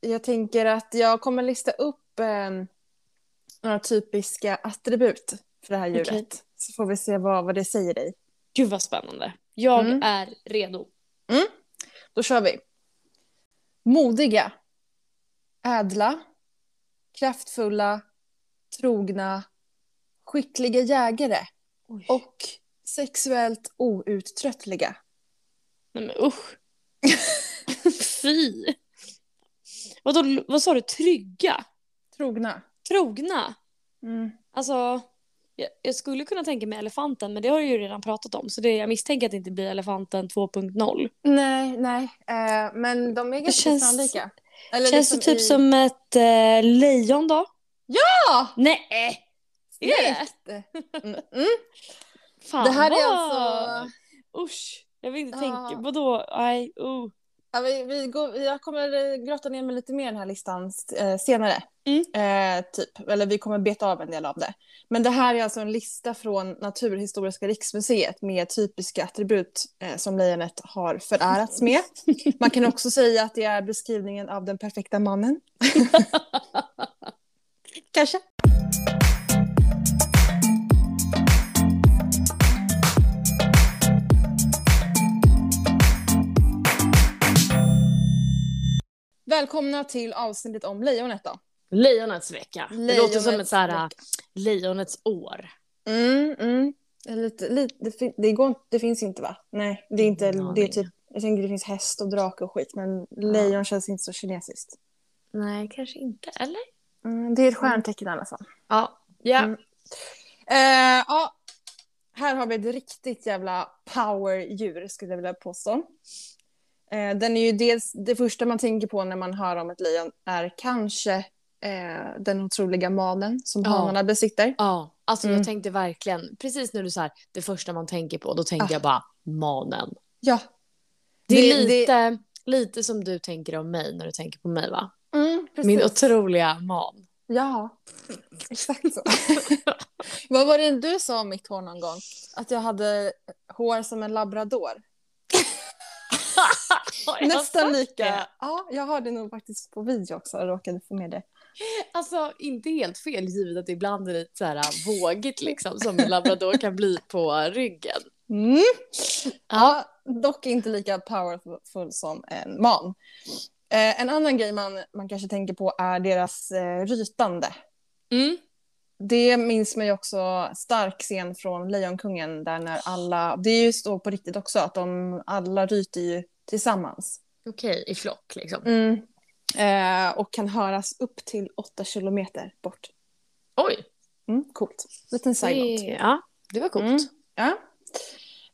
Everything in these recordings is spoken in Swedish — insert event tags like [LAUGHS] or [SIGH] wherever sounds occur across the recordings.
Jag tänker att jag kommer lista upp eh, några typiska attribut för det här djuret. Okej. Så får vi se vad, vad det säger dig. Gud vad spännande. Jag Mm. är redo. Då kör vi. Modiga. Ädla. Kraftfulla. Trogna. Skickliga jägare. Oj. Och sexuellt outtröttliga. Nej men [LAUGHS] usch. Fy. Vadå, vad sa du, trygga? Trogna. Trogna? Mm. Alltså, jag, jag skulle kunna tänka mig elefanten men det har jag ju redan pratat om så det, jag misstänker att det inte blir elefanten 2.0. Nej, nej. Eh, men de är ganska känns- snarlika. Eller Känns det liksom typ i- som ett eh, lejon då? Ja! Nej! Är det? Snyggt! [LAUGHS] Mm, mm. Fan, Det här är vad- alltså... Usch, jag vill inte Ja. tänka. Vadå? Nej, oh. Ja, vi, vi går, jag kommer eh, grotta ner mig lite mer i den här listan eh, senare. Mm. Eh, typ. Eller vi kommer beta av en del av det. Men det här är alltså en lista från Naturhistoriska riksmuseet med typiska attribut eh, som lejonet har förärats med. Man kan också säga att det är beskrivningen av den perfekta mannen. Kanske. Välkomna till avsnittet om lejonet då. Lejonets vecka. det låter som Lejonets ett så här, vecka. lejonets år. Mm, mm. Lite, lite, det, fin- det, går, inte- det finns inte va? Nej, det är inte, Ingen det är aning. typ, jag tänker det finns häst och drake och skit men lejon känns inte så kinesiskt. Nej, kanske inte. Eller? Mm, det är ett stjärntecken i alla fall. Ja. ja. Mm. Eh, ja, här har vi ett riktigt jävla powerdjur skulle jag vilja påstå. Eh, den är ju dels, det första man tänker på när man hör om ett lejon är kanske eh, den otroliga manen som Ja. hanarna besitter. Ja, alltså Mm. jag tänkte verkligen, precis när du sa här, det första man tänker på, då tänker Ah. jag bara manen. Ja. Det är Det- det- lite, lite som du tänker om mig när du tänker på mig va? Mm, Min otroliga man. [LAUGHS] Ja, exakt så. [LAUGHS] Vad var det du sa om mitt hår någon gång? Att jag hade hår som en labrador. Har jag Nästan sagt lika. det? Ja, jag har det nog faktiskt på video också. Jag råkade få med det. Alltså inte helt fel givet att det ibland är lite så här vågigt liksom som en labrador kan bli på ryggen. Mm. Ja, dock inte lika powerful som en man. Eh, en annan grej man, man kanske tänker på är deras eh, rytande. Mm. Det minns man ju också stark scen från Lejonkungen där när alla, det är ju så på riktigt också att de alla ryter ju tillsammans. Okej, i flock liksom. Mm. Eh, och kan höras upp till åtta kilometer bort. Oj, Mm, coolt. Liten side note. det, ja, det var coolt. Mm. Ja.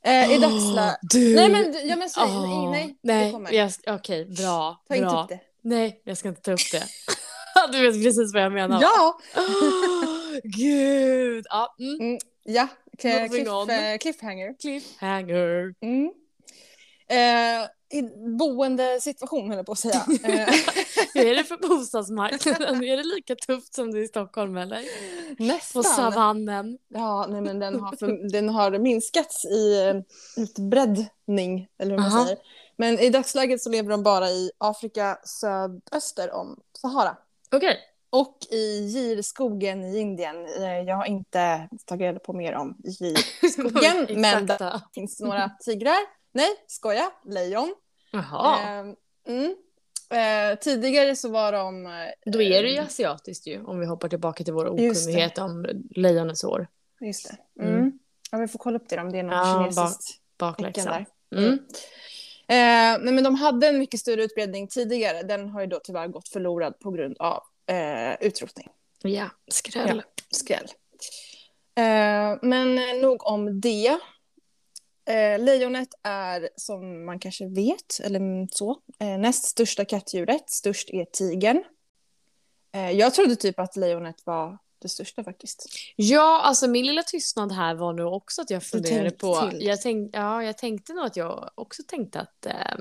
Eh, I Åh, dagsläget... [GASPS] Du... Nej, men du- jag menar, säg- Åh, Typ, nej, nej, det nej, kommer. jag- Okej, bra. Ta inte bra. upp det. Nej, jag ska inte ta upp det. [LAUGHS] du vet precis vad jag menar. Ja! Åh, [GASPS] Gud! Ja, mm. Ja, k- Moving cliff, on. eh, cliffhanger. Cliffhanger. Mm. Eh, i boendesituation höll jag på att [LAUGHS] säga. Eh, Hur är det för bostadsmarknaden? är det lika tufft som det är i Stockholm eller? På nästan. savannen. Ja, nej, men den, har [LAUGHS] för, den har minskats i eh, utbreddning, eller hur man Aha. säger. Men i dagsläget så lever de bara i Afrika södöster om Sahara. Okej. Och i girskogen i Indien. Eh, Jag har inte tagit reda på mer om girskogen, men där Exakta. finns det några tigrar. Nej, skoja, lejon. Jaha. Eh, mm. Eh, tidigare så var de... eh, Då är det ju asiatiskt ju, om vi hoppar tillbaka till vår Just det. okunnighet om lejonets år. Just det. Mm. Mm. Ja, vi får kolla upp det om det är något Ja, kinesiskt. tecken Bakläxa. där. Mm. Eh, nej, men de hade en mycket större utbredning tidigare. Den har ju då tyvärr gått förlorad på grund av eh, utrotning. Ja, skräll. Skräll. Eh, men nog om det. Eh, lejonet är, som man kanske vet, eller mm, så, eh, näst största kattdjuret. Störst är tigern. Eh, jag trodde typ att lejonet var det största faktiskt. Ja, alltså min lilla tystnad här var nog också att jag funderade tänkte på... till. Jag, tänk, ja, jag tänkte nog att jag också tänkte att eh,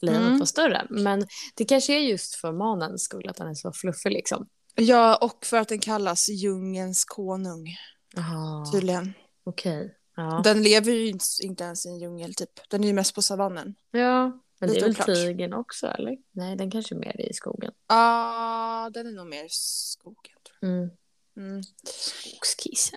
lejonet Mm. var större. Men det kanske är just för manens skull, att han är så fluffig liksom. Ja, och för att den kallas djungelns konung, Aha, tydligen. Ah, okej. Ja. Den lever ju inte, inte ens i en djungel typ. Den är ju mest på savannen. ja, Men det är Lite väl oklart. tigern också eller? Nej den kanske är mer i skogen. Ja, Ah, den är nog mer skogen. Tror Mm. jag. Mm. Skogskisse.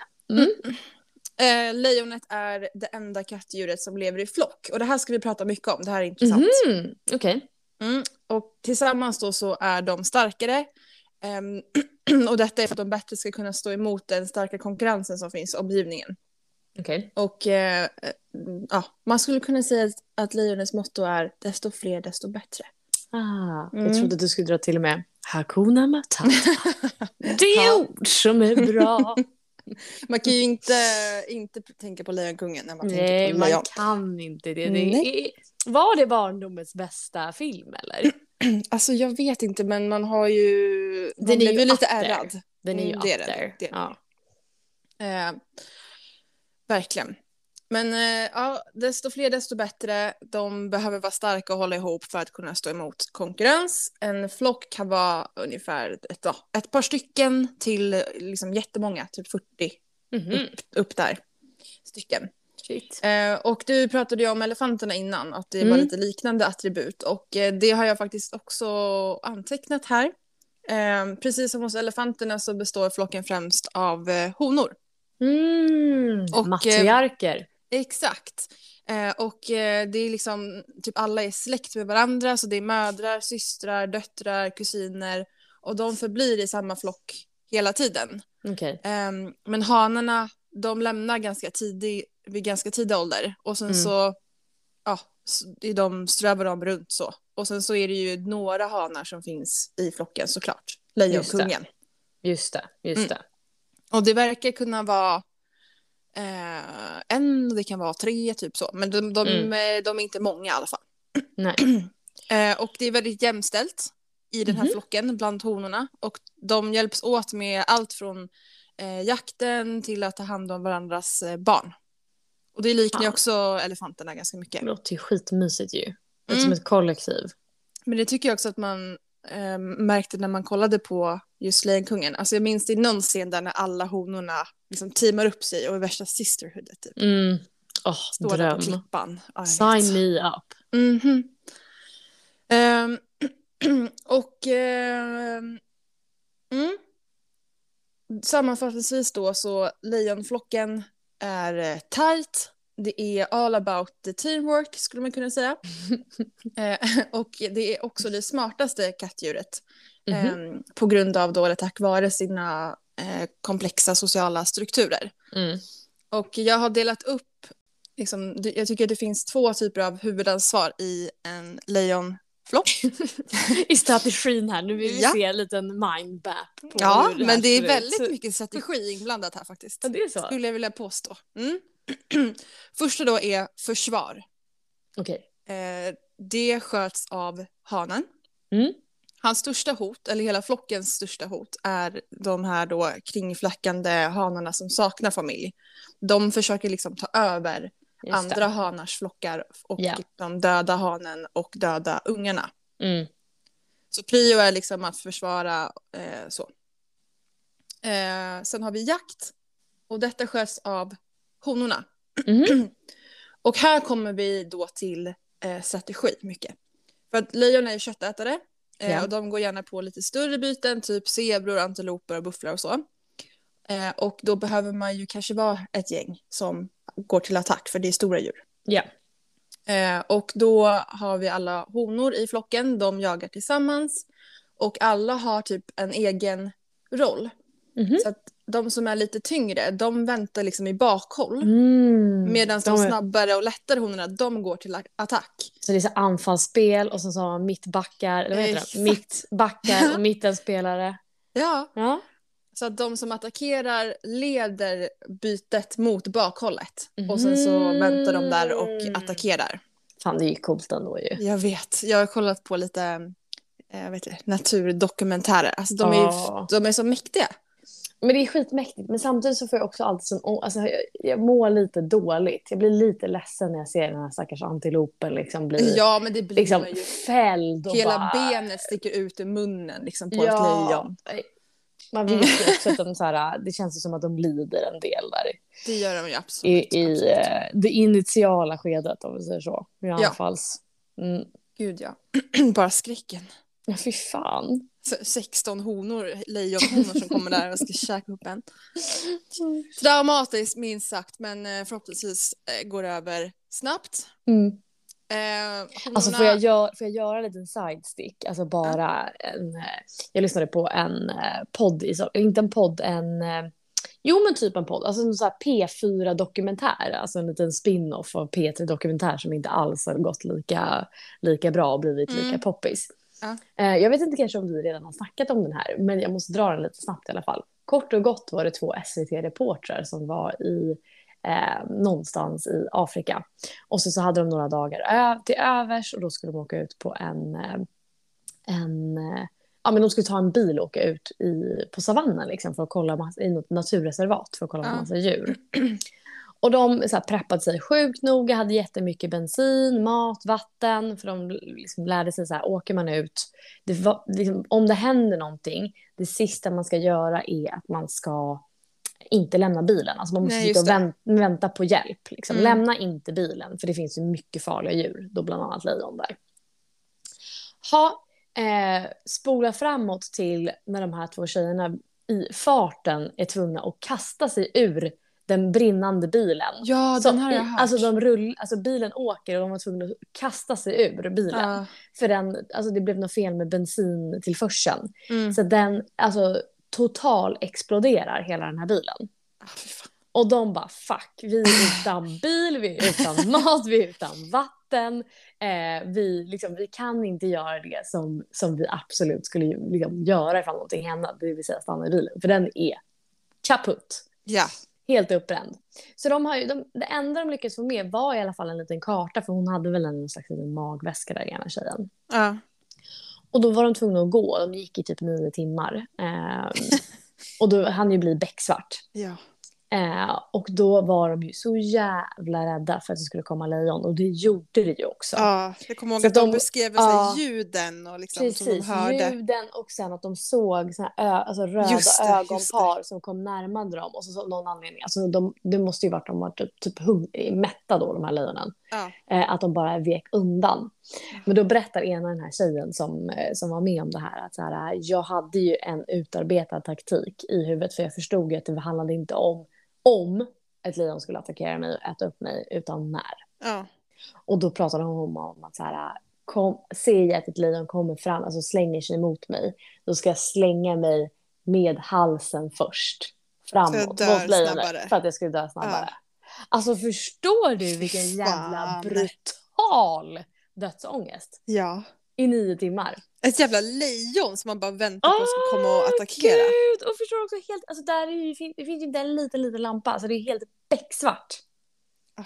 Eh, lejonet är det enda kattdjuret som lever i flock. Och det här ska vi prata mycket om, det här är intressant. Mhm, Okej. Mm. Och tillsammans då så är de starkare. Ehm, [CLEARS THROAT] och detta är för att de bättre ska kunna stå emot den starka konkurrensen som finns i omgivningen. Okej. Och eh, eh, ja, man skulle kunna säga att, att lejonets motto är desto fler desto bättre. Ah, Mm. Jag trodde du skulle dra till och med Hakuna Matata. [LAUGHS] Det är Ja. ord som är bra. Man kan ju inte, inte tänka på Lejonkungen när man tänker Nej, på man lejon. kan inte det. det Nej. är, var det barndomens bästa film eller? Alltså jag vet inte men man har ju... Man Den är blev ju ju lite up there. ärrad. Den är ju Mm, up det är den, there. det är den. Ja. Eh, verkligen. Men eh, ja, desto fler desto bättre. De behöver vara starka och hålla ihop för att kunna stå emot konkurrens. En flock kan vara ungefär ett, ja, ett par stycken till eh, liksom jättemånga, typ 40 Mhm. upp där stycken. Shit. Eh, och du pratade ju om elefanterna innan, att det var Mm. lite liknande attribut. Och eh, det har jag faktiskt också antecknat här. Eh, precis som hos elefanterna så består flocken främst av eh, honor. Mm. Och, eh, Matriarker. Exakt. Eh, och eh, det är liksom, typ alla är släkt med varandra, så det är mödrar, systrar, döttrar, kusiner. Och de förblir i samma flock hela tiden. Okej. Ehm, men hanarna, de lämnar ganska tidig, vid ganska tidig ålder. Och sen Mm. så, ja, s- det är de strövar de runt så. Och sen så är det ju några hanar som finns i flocken såklart. Lejonkungen. Just det. Mm. Just det. Och det verkar kunna vara eh, en, det kan vara tre, typ så. Men de, de, Mm. eh, de är inte många i alla fall. [CLEARS THROAT] Nej. [CLEARS THROAT] Eh, och det är väldigt jämställt i den här Mhm. flocken bland honorna. Och de hjälps åt med allt från eh, jakten till att ta hand om varandras eh, barn. Och det liknar ju Fan. också elefanterna ganska mycket. Det låter ju skitmysigt ju. Lite Mm. Som ett kollektiv. Men det tycker jag också att man eh, märkte när man kollade på just Lejonkungen. Alltså jag minns det i någon scen där när alla honorna liksom teamar upp sig och är värsta sisterhoodet typ. Mm. Åh, Står där dröm. på klippan. Ja, jag vet. Sign me up. Mhm. Ehm, [CLEARS THROAT] och ehm, mm. sammanfattningsvis då så lejonflocken är eh, tight. Det är all about the teamwork skulle man kunna säga. Eh, [LAUGHS] och det är också det smartaste kattdjuret. Mhm. ehm, på grund av då, eller tack vare sina eh, komplexa sociala strukturer. Mm. Och jag har delat upp, liksom, det- jag tycker att det finns två typer av huvudansvar i en lejonflock. I strategin här. Nu vill vi Ja. se en liten mindbap. på Ja, hur här men det är ser ut. väldigt mycket strategi inblandat här faktiskt. Ja, det är så. Okej. Skulle jag vilja påstå. Mm. [CLEARS THROAT] Första då är försvar. Eh, det sköts av hanen. Mm. Hans största hot, eller hela flockens största hot, är de här då kringflackande hanarna som saknar familj. De försöker liksom ta över Just andra hanars flockar och Ja. de döda hanen och döda ungarna. Det. Mm. Så prio är liksom att försvara eh, så. Eh, sen har vi jakt och detta sköts av honorna. Mhm. [CLEARS THROAT] och här kommer vi då till eh, strategi mycket. För att lejon är ju köttätare eh, Ja. och de går gärna på lite större byten, typ zebror, antiloper och bufflar och så. Eh, och då behöver man ju kanske vara ett gäng som går till attack för det är stora djur. Ja. Eh, och då har vi alla honor i flocken, de jagar tillsammans. Och alla har typ en egen roll. Mhm. Så att de som är lite tyngre, de väntar liksom i bakhåll. Mm. Medan de, De är- snabbare och lättare honorna, de går till a- attack. Så det är så anfallsspel och sen så har man mittbackar, eller vad heter Exakt. [LAUGHS] det? Mittbackar och mittenspelare. Ja, Ja. så att de som attackerar leder bytet mot bakhållet. Och sen så Mm. väntar de där Mhm. och attackerar. Fan, det är ju coolt ändå ju. Jag vet, jag har kollat på lite eh, vet du, naturdokumentärer. Alltså de är, ju- Ja. de är så mäktiga. Men det är skitmäktigt. Men samtidigt så får jag också alltid sån... å- Alltså, jag, jag mår lite dåligt. Jag blir lite ledsen när jag ser den här stackars antilopen liksom bli Ja, men det blir liksom, ju. fälld. Och Hela bara... benet sticker ut ur munnen liksom, på ett lejon. Man vet ju också att de så här, äh, det känns ju som att de lider en del där Det gör de ju absolut. i, äh, i absolut. eh, det initiala skedet om vi säger så. I Ja. anfalls. Mm. Gud ja. [CLEARS THROAT] Bara skräcken. Ja, fy fan. Så 16 honor, lejonhonor som kommer där och ska käka upp en. Mm. Traumatiskt minst sagt men eh, förhoppningsvis eh, går det över snabbt. Mm. Eh, honorna... Alltså får jag, gör, får jag göra en liten sidestick? Alltså bara en... eh, Jag lyssnade på en eh, podd, i, so- inte en podd, en... eh, Jo men typ en podd, alltså en sån här P4-dokumentär, alltså en liten spin-off av P3-dokumentär som inte alls har gått lika, lika bra och blivit lika Mm. poppis. Ja. Eh, Jag vet inte kanske om vi redan har snackat om den här, men jag måste dra den lite snabbt i alla fall. Kort och gott var det två SVT-reportrar som var i eh, någonstans i Afrika. Och så, så hade de några dagar ö- till övers och då skulle de åka ut på en... eh, en eh, ja, men de skulle ta en bil och åka ut i, på savannen liksom, för att kolla massa, i något naturreservat för att kolla på Ja. massa djur. [CLEARS THROAT] Och de så här, preppade sig sjukt noga, hade jättemycket bensin, mat, vatten. För de liksom, lärde sig så här, åker man ut, det, var- liksom, om det händer någonting, det sista man ska göra är att man ska inte lämna bilen. Alltså man måste Nej, sitta och just det. vän, vänta på hjälp. Liksom. Mm. Lämna inte bilen, för det finns ju mycket farliga djur, då bland annat lejon där. Ha, eh, spola framåt till när de här två tjejerna i farten är tvungna att kasta sig ur den brinnande bilen. Ja, Så den har jag i- hört. Alltså, de rull, alltså bilen åker och de var tvungna att kasta sig ur bilen. Ja. För den, alltså det blev något fel med bensintillförseln. Mm. Så den alltså, total exploderar hela den här bilen. Ah, fy fan. Och de bara fuck, vi är utan bil, vi är utan mat, vi är utan vatten. Eh, vi, liksom, vi kan inte göra det som, som vi absolut skulle ju liksom, göra ifall någonting hände, det vill säga stanna i bilen. För den är kaputt. Ja. Helt uppbränd. Så de har ju, de, det enda de lyckades få med var i alla fall en liten karta för hon hade väl en slags liten magväska där ena tjejen. Ja. Och då var de tvungna att gå, de gick i typ nio timmar. Eh, och då hann ju bli becksvart. Ja. Eh, och då var de ju så jävla rädda för att det skulle komma lejon och det gjorde det ju också. Ja, jag kommer ihåg Så att de de- beskrev ja. så här, ljuden och liksom, som de Precis, hörde. ljuden och sen att de såg såna här ö, alltså röda Just det, just det. ögonpar som kom närmare dem. Och så, så av någon anledning, alltså de, det måste ju varit de var typ, typ hung- mätta då, de här lejonen. Ja. Eh, att de bara vek undan. Men då berättar ena den här tjejen som, eh, som var med om det här att så här, eh, jag hade ju en utarbetad taktik i huvudet för jag förstod ju att det handlade inte om om ett lejon skulle attackera mig och äta upp mig utan när. Ja. och Och då pratade hon om att så här, kom, ser jag att ett lejon kommer fram, alltså slänger sig mot mig, då ska jag slänga mig med halsen först. Så jag Framåt dör mot lejonet. snabbare. För att jag skulle dö snabbare. Alltså förstår du vilken Fy jävla fan. brutal dödsångest? ja. I nio timmar. Ett jävla lejon som man bara väntar på ska komma och Ah, attackera. Gud! Och förstår också helt, alltså där är ju, fin- det finns ju inte en liten, liten lampa. Alltså det är helt becksvart. Ah.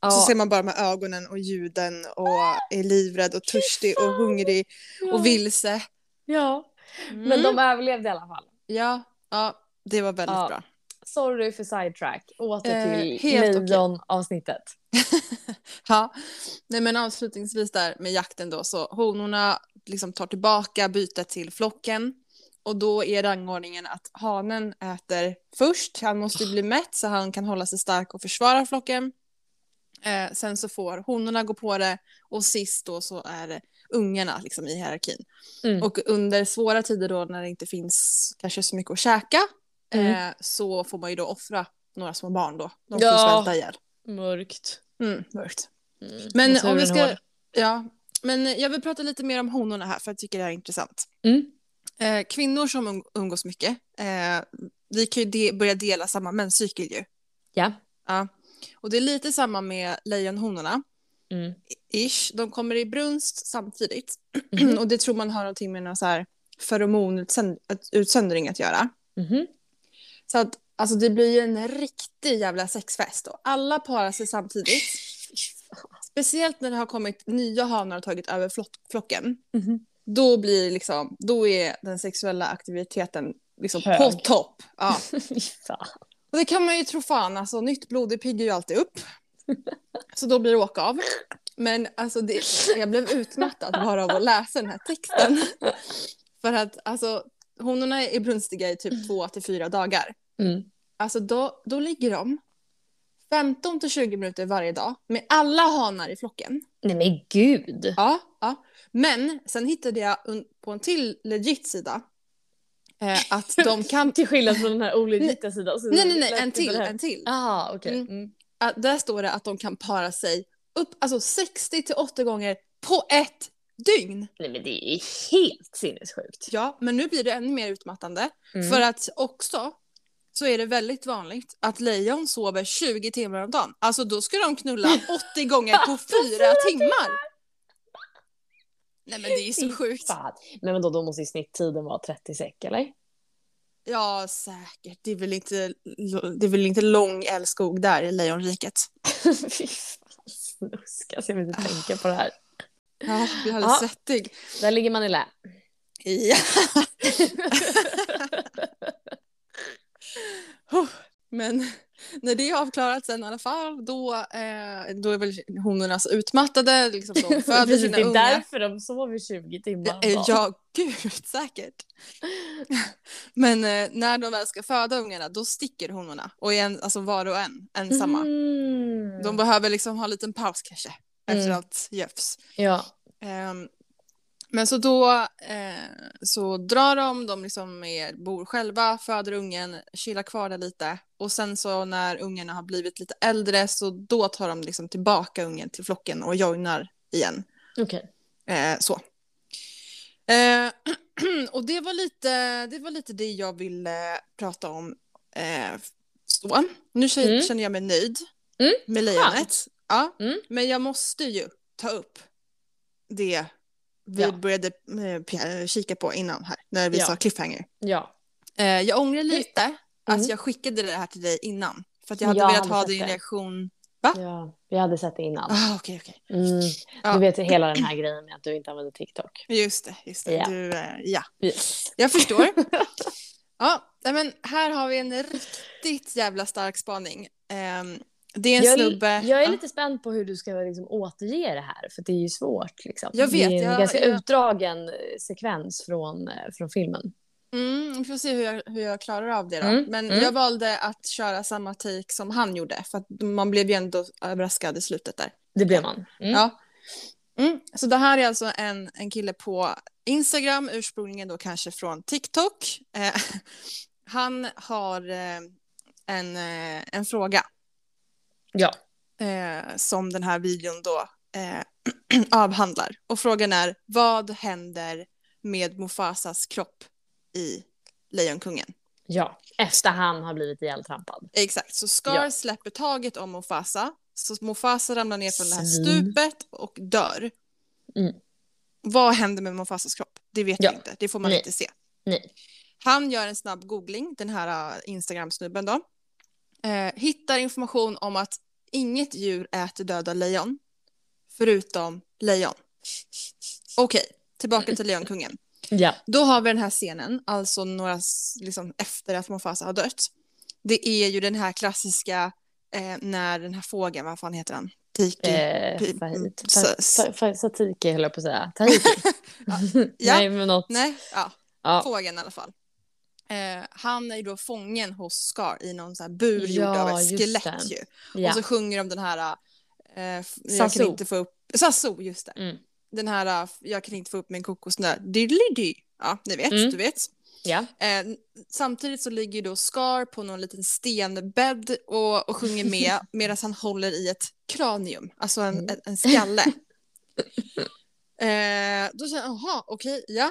Ja, Så ser man bara med ögonen och ljuden och Ah, är livrädd och törstig och hungrig ja, och vilse. Ja, Mm. men de överlevde i alla fall. Ja, ja, det var väldigt Ja. bra. Sorry för sidetrack. Åter Eh, till helt okej. lejonavsnittet. [LAUGHS] Ja. Nej, men avslutningsvis där med jakten då, så honorna liksom tar tillbaka bytet till flocken. Och då är rangordningen att hanen äter först, han måste bli mätt så han kan hålla sig stark och försvara flocken. Eh, sen så får honorna gå på det och sist då så är det ungarna liksom, i hierarkin. Mm. Och under svåra tider då när det inte finns kanske så mycket att käka Mm. eh, så får man ju då offra några små barn då. De får Ja. svälta ihjäl. Mörkt. Mm, mörkt. Mm. Men Och så om vi den ska... hård. Ja, men jag vill prata lite mer om honorna här för jag tycker det här är intressant. Mm. Eh, kvinnor som um- umgås mycket, eh, vi kan ju de- börja dela samma menscykel ju. Ja. Ja. Och det är lite samma med lejonhonorna, Mm. ish. De kommer i brunst samtidigt [CLEARS THROAT] Mhm. och det tror man har någonting med någon så här feromonutsöndring att göra. Mhm. Mm. Så att alltså det blir ju en riktig jävla sexfest och alla parar sig samtidigt. Speciellt när det har kommit nya hanar och tagit över flock- flocken. Mhm. då blir liksom, då är den sexuella aktiviteten liksom på Hög. topp. Ja. [LAUGHS] Fy fan. Och det kan man ju tro fan, alltså nytt blod det piggar ju alltid [LAUGHS] upp. Så då blir det åka av. Men alltså det, jag blev utmattad bara av att läsa den här texten. För att alltså honorna är brunstiga i typ två till fyra dagar. Mm. Alltså då, då ligger de 15 till 20 minuter varje dag med alla hanar i flocken. Nej men gud! Ja, ja. Men sen hittade jag un- på en till legit sida eh, att [LAUGHS] de kan... Till skillnad från den här olegita sidan. så- Nej, nej, nej, lät en det till, så här. en till. Ah, okej. Mm. Mm. Att där står det att de kan para sig upp alltså 60 till 80 gånger på ett dygn. Nej men det är ju helt sinnessjukt. Ja, men nu blir det ännu mer utmattande. Mm. För att också så är det väldigt vanligt att lejon sover 20 timmar om dagen. Alltså då ska de knulla 80 gånger [LAUGHS] på Alltså, fyra timmar. Nej men det är så Fy sjukt. Fan. Nej men då, då måste ju snitttiden vara 30 sek eller? [LAUGHS] Ja säkert, det är väl inte, det är väl inte lång älskog där i lejonriket. Fy fan snuskas, jag vill inte tänka på det här. Ja, vi hade Ja. svettig. Där ligger man i lä. Ja. [LAUGHS] Huh. Men när det är avklarat sen i alla fall, då, eh, då är väl honorna så utmattade, liksom, [LAUGHS] de föder [LAUGHS] Precis, sina det är ungar. därför de sover 20 timmar om Eh, dagen. Ja, gud, säkert. Men eh, när de väl ska föda ungarna, då sticker honorna, och en, alltså var och en, ensamma. Mm. De behöver liksom ha en liten paus kanske, efter Mm. allt göfs. Ja. Ehm, men så då eh, så drar de, de liksom är, bor själva, föder ungen, chillar kvar där lite och sen så när ungarna har blivit lite äldre så då tar de liksom tillbaka ungen till flocken och joinar igen. Okej. Eh, så. Eh, [CLEARS THROAT] och det var, lite, det var lite det jag ville prata om. Eh, så. Nu känner Mm. känner jag mig nöjd Mm, med lejonet. Ja. Mm. Men jag måste ju ta upp det vi Ja. började eh, p- kika på innan här, när vi Ja. sa cliffhanger. Ja. Eh, jag ångrar lite Mm. att jag skickade det här till dig innan. För att jag hade Jag velat hade ha sett din det. reaktion. ja. Jag hade sett det innan. Ah, okej, okej. Mm. Ja. Du vet ju hela den här grejen med att du inte använder TikTok. Just det, just det. Ja. Du, eh, ja. Yes. Jag förstår. [LAUGHS] ja, nej, men här har vi en riktigt jävla stark spaning. Ehm, det är en jag, är- snubbe. jag är Ja. lite spänd på hur du ska liksom återge det här, för det är ju svårt. Liksom. Jag vet, det är en jag- ganska jag- utdragen eh, sekvens från, eh, från filmen. Mm, vi får se hur jag, hur jag klarar av det då. Mm, Men mm. jag valde att köra samma take som han gjorde. För att man blev ju ändå överraskad i slutet där. Det blev man. Mm. Ja. Mm. Så det här är alltså en, en kille på Instagram, ursprungligen då kanske från TikTok. Eh, [LAUGHS] han har eh, en, eh, en fråga. Ja. Eh, som den här videon då eh, [CLEARS THROAT] avhandlar. Och frågan är, vad händer med Mufasas kropp i Lejonkungen? ja. Efter han har blivit ihjältrampad. Exakt, så Scar Ja. släpper taget om Mufasa. Så Mufasa ramlar ner från det här Svin. stupet och dör. Mm. Vad händer med Mufasas kropp? Det vet Ja. vi inte, det får man Nej. inte se. Nej. Han gör en snabb googling, den här äh, Instagram-snubben då. Eh, hittar information om att inget djur äter döda lejon, förutom lejon. Okej, tillbaka [LAUGHS] till Lejonkungen. Ja. Då har vi den här scenen, alltså några s- liksom, efter att Mufasa har dött. Det är ju den här klassiska eh, när den här fågeln, vad fan heter han? Tiki. Eh, Pi- Fahit. s- Fa- s- fa- fa- Satiki höll jag på [LAUGHS] att säga. Tahiti. Ja. [LAUGHS] Nej, men något. Nej, ja, Ja. fågeln i alla fall. Eh, han är ju då fången hos Scar i någon sån här bur gjord Ja, av ett just skelett det. ju. Ja. Och så sjunger de den här... Eh, f- jag Sasso. kan inte få upp... Sasso, just det. Mm. Den här, eh, f- jag kan inte få upp min kokosnöt. Diddly-dy. Ja, ni vet, Mm. du vet. ja. Eh, samtidigt så ligger ju då Scar på någon liten stenbädd och, och sjunger [LAUGHS] med medan han håller i ett kranium, alltså en, Mm. en, en [LAUGHS] skalle. Eh, då känner jag, jaha, okej, ja.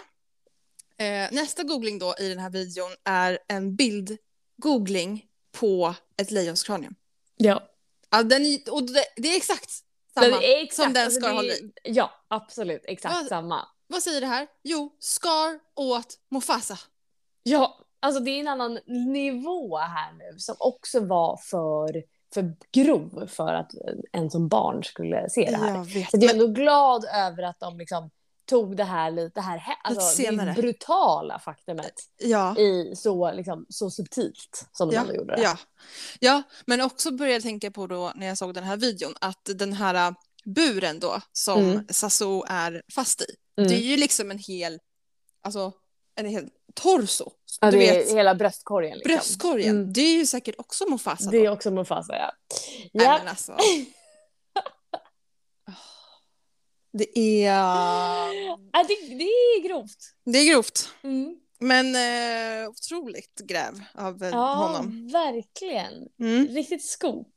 Eh, nästa googling då i den här videon är en bildgoogling på ett lejonskranium. ja. Ja, den, är- och det, det är exakt samma. Den är exakt, som den alltså, ska det är- hålla i. Ja, absolut. Exakt Ja. samma. Vad säger det här? Jo, Scar åt Mufasa. Ja, alltså det är en annan nivå här nu som också var för, för grov för att en som barn skulle se det här. vet. Så jag är Men, ändå glad över att de liksom tog det här lite, det här he- alltså, senare. det brutala faktumet ja. i så, liksom, så subtilt som de Ja, ändå gjorde det. Ja. ja, men också började jag tänka på då när jag såg den här videon att den här ä, buren då som Mm. Sasso är fast i, Mm. det är ju liksom en hel, alltså en hel torso. Ja, du det vet, är hela bröstkorgen. Liksom. bröstkorgen, Alltså. Mm. det är ju säkert också Mufasa Det då. alltså. Ah. [LAUGHS] är också Mufasa, ja. Nej, Ja, men alltså. Det är, Ja, äh, det, det är grovt. det är grovt. Mm. Men eh, otroligt gräv av eh, Ja, honom. verkligen. Mm. [LAUGHS] Riktigt scoop.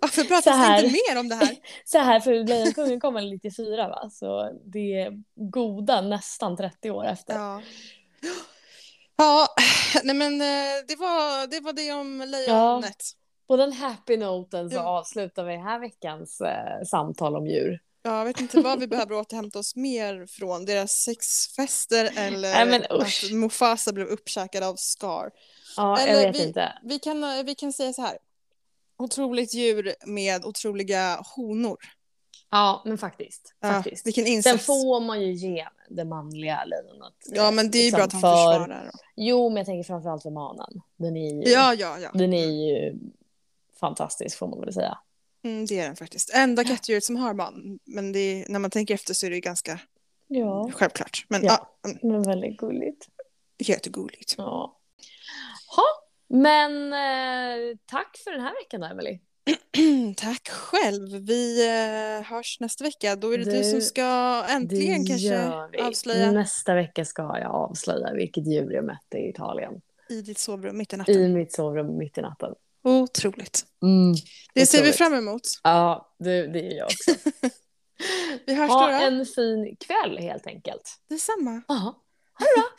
Varför Så pratas här. det inte mer om det här? Så här, för Lejonkungen kom väl 94 va? Så det är goda nästan 30 år efter. Ja. [GASPS] Ja, [SIGHS] nej men eh, det var det, var det om lejonet. På den happy noten så Ja. avslutar vi den här veckans eh, samtal om djur. Ja, jag vet inte vad vi behöver återhämta oss mer från. Deras sexfester eller [LAUGHS] Nej, men usch. att Mufasa blev uppkäkad av Scar. Ja, Eller jag vet vi- inte. Vi kan, eh, vi kan säga så här. Otroligt djur med otroliga honor. Ja, men faktiskt. Ja, faktiskt. vilken Sen insats. får man ju ge det manliga lejonet. Ja, men det är ju liksom bra att han för- försvarar. dem. Jo, men jag tänker framförallt för manan. Den är ju, Ja, ja, ja. den är ju fantastisk får man väl säga. Mm, det är den faktiskt. Enda kattdjuret som har man. Men det är, när man tänker efter så är det ju ganska Ja, självklart. Men ja, Ja. men väldigt gulligt. jättegulligt. Ja. Ha, men eh, tack för den här veckan då, Emily. [CLEARS THROAT] Tack själv. Vi eh, hörs nästa vecka. Då är det du, Det- som ska äntligen kanske gör vi. avslöja Nästa vecka ska jag avslöja vilket djur jag mötte i Italien. i ditt sovrum mitt i natten. I mitt sovrum mitt i natten. Otroligt. Mm. Det ser vi Otroligt. fram emot. Ja, det, det gör [LAUGHS] jag också. Vi hörs då. Ha då. en fin kväll helt enkelt. Detsamma. Ja.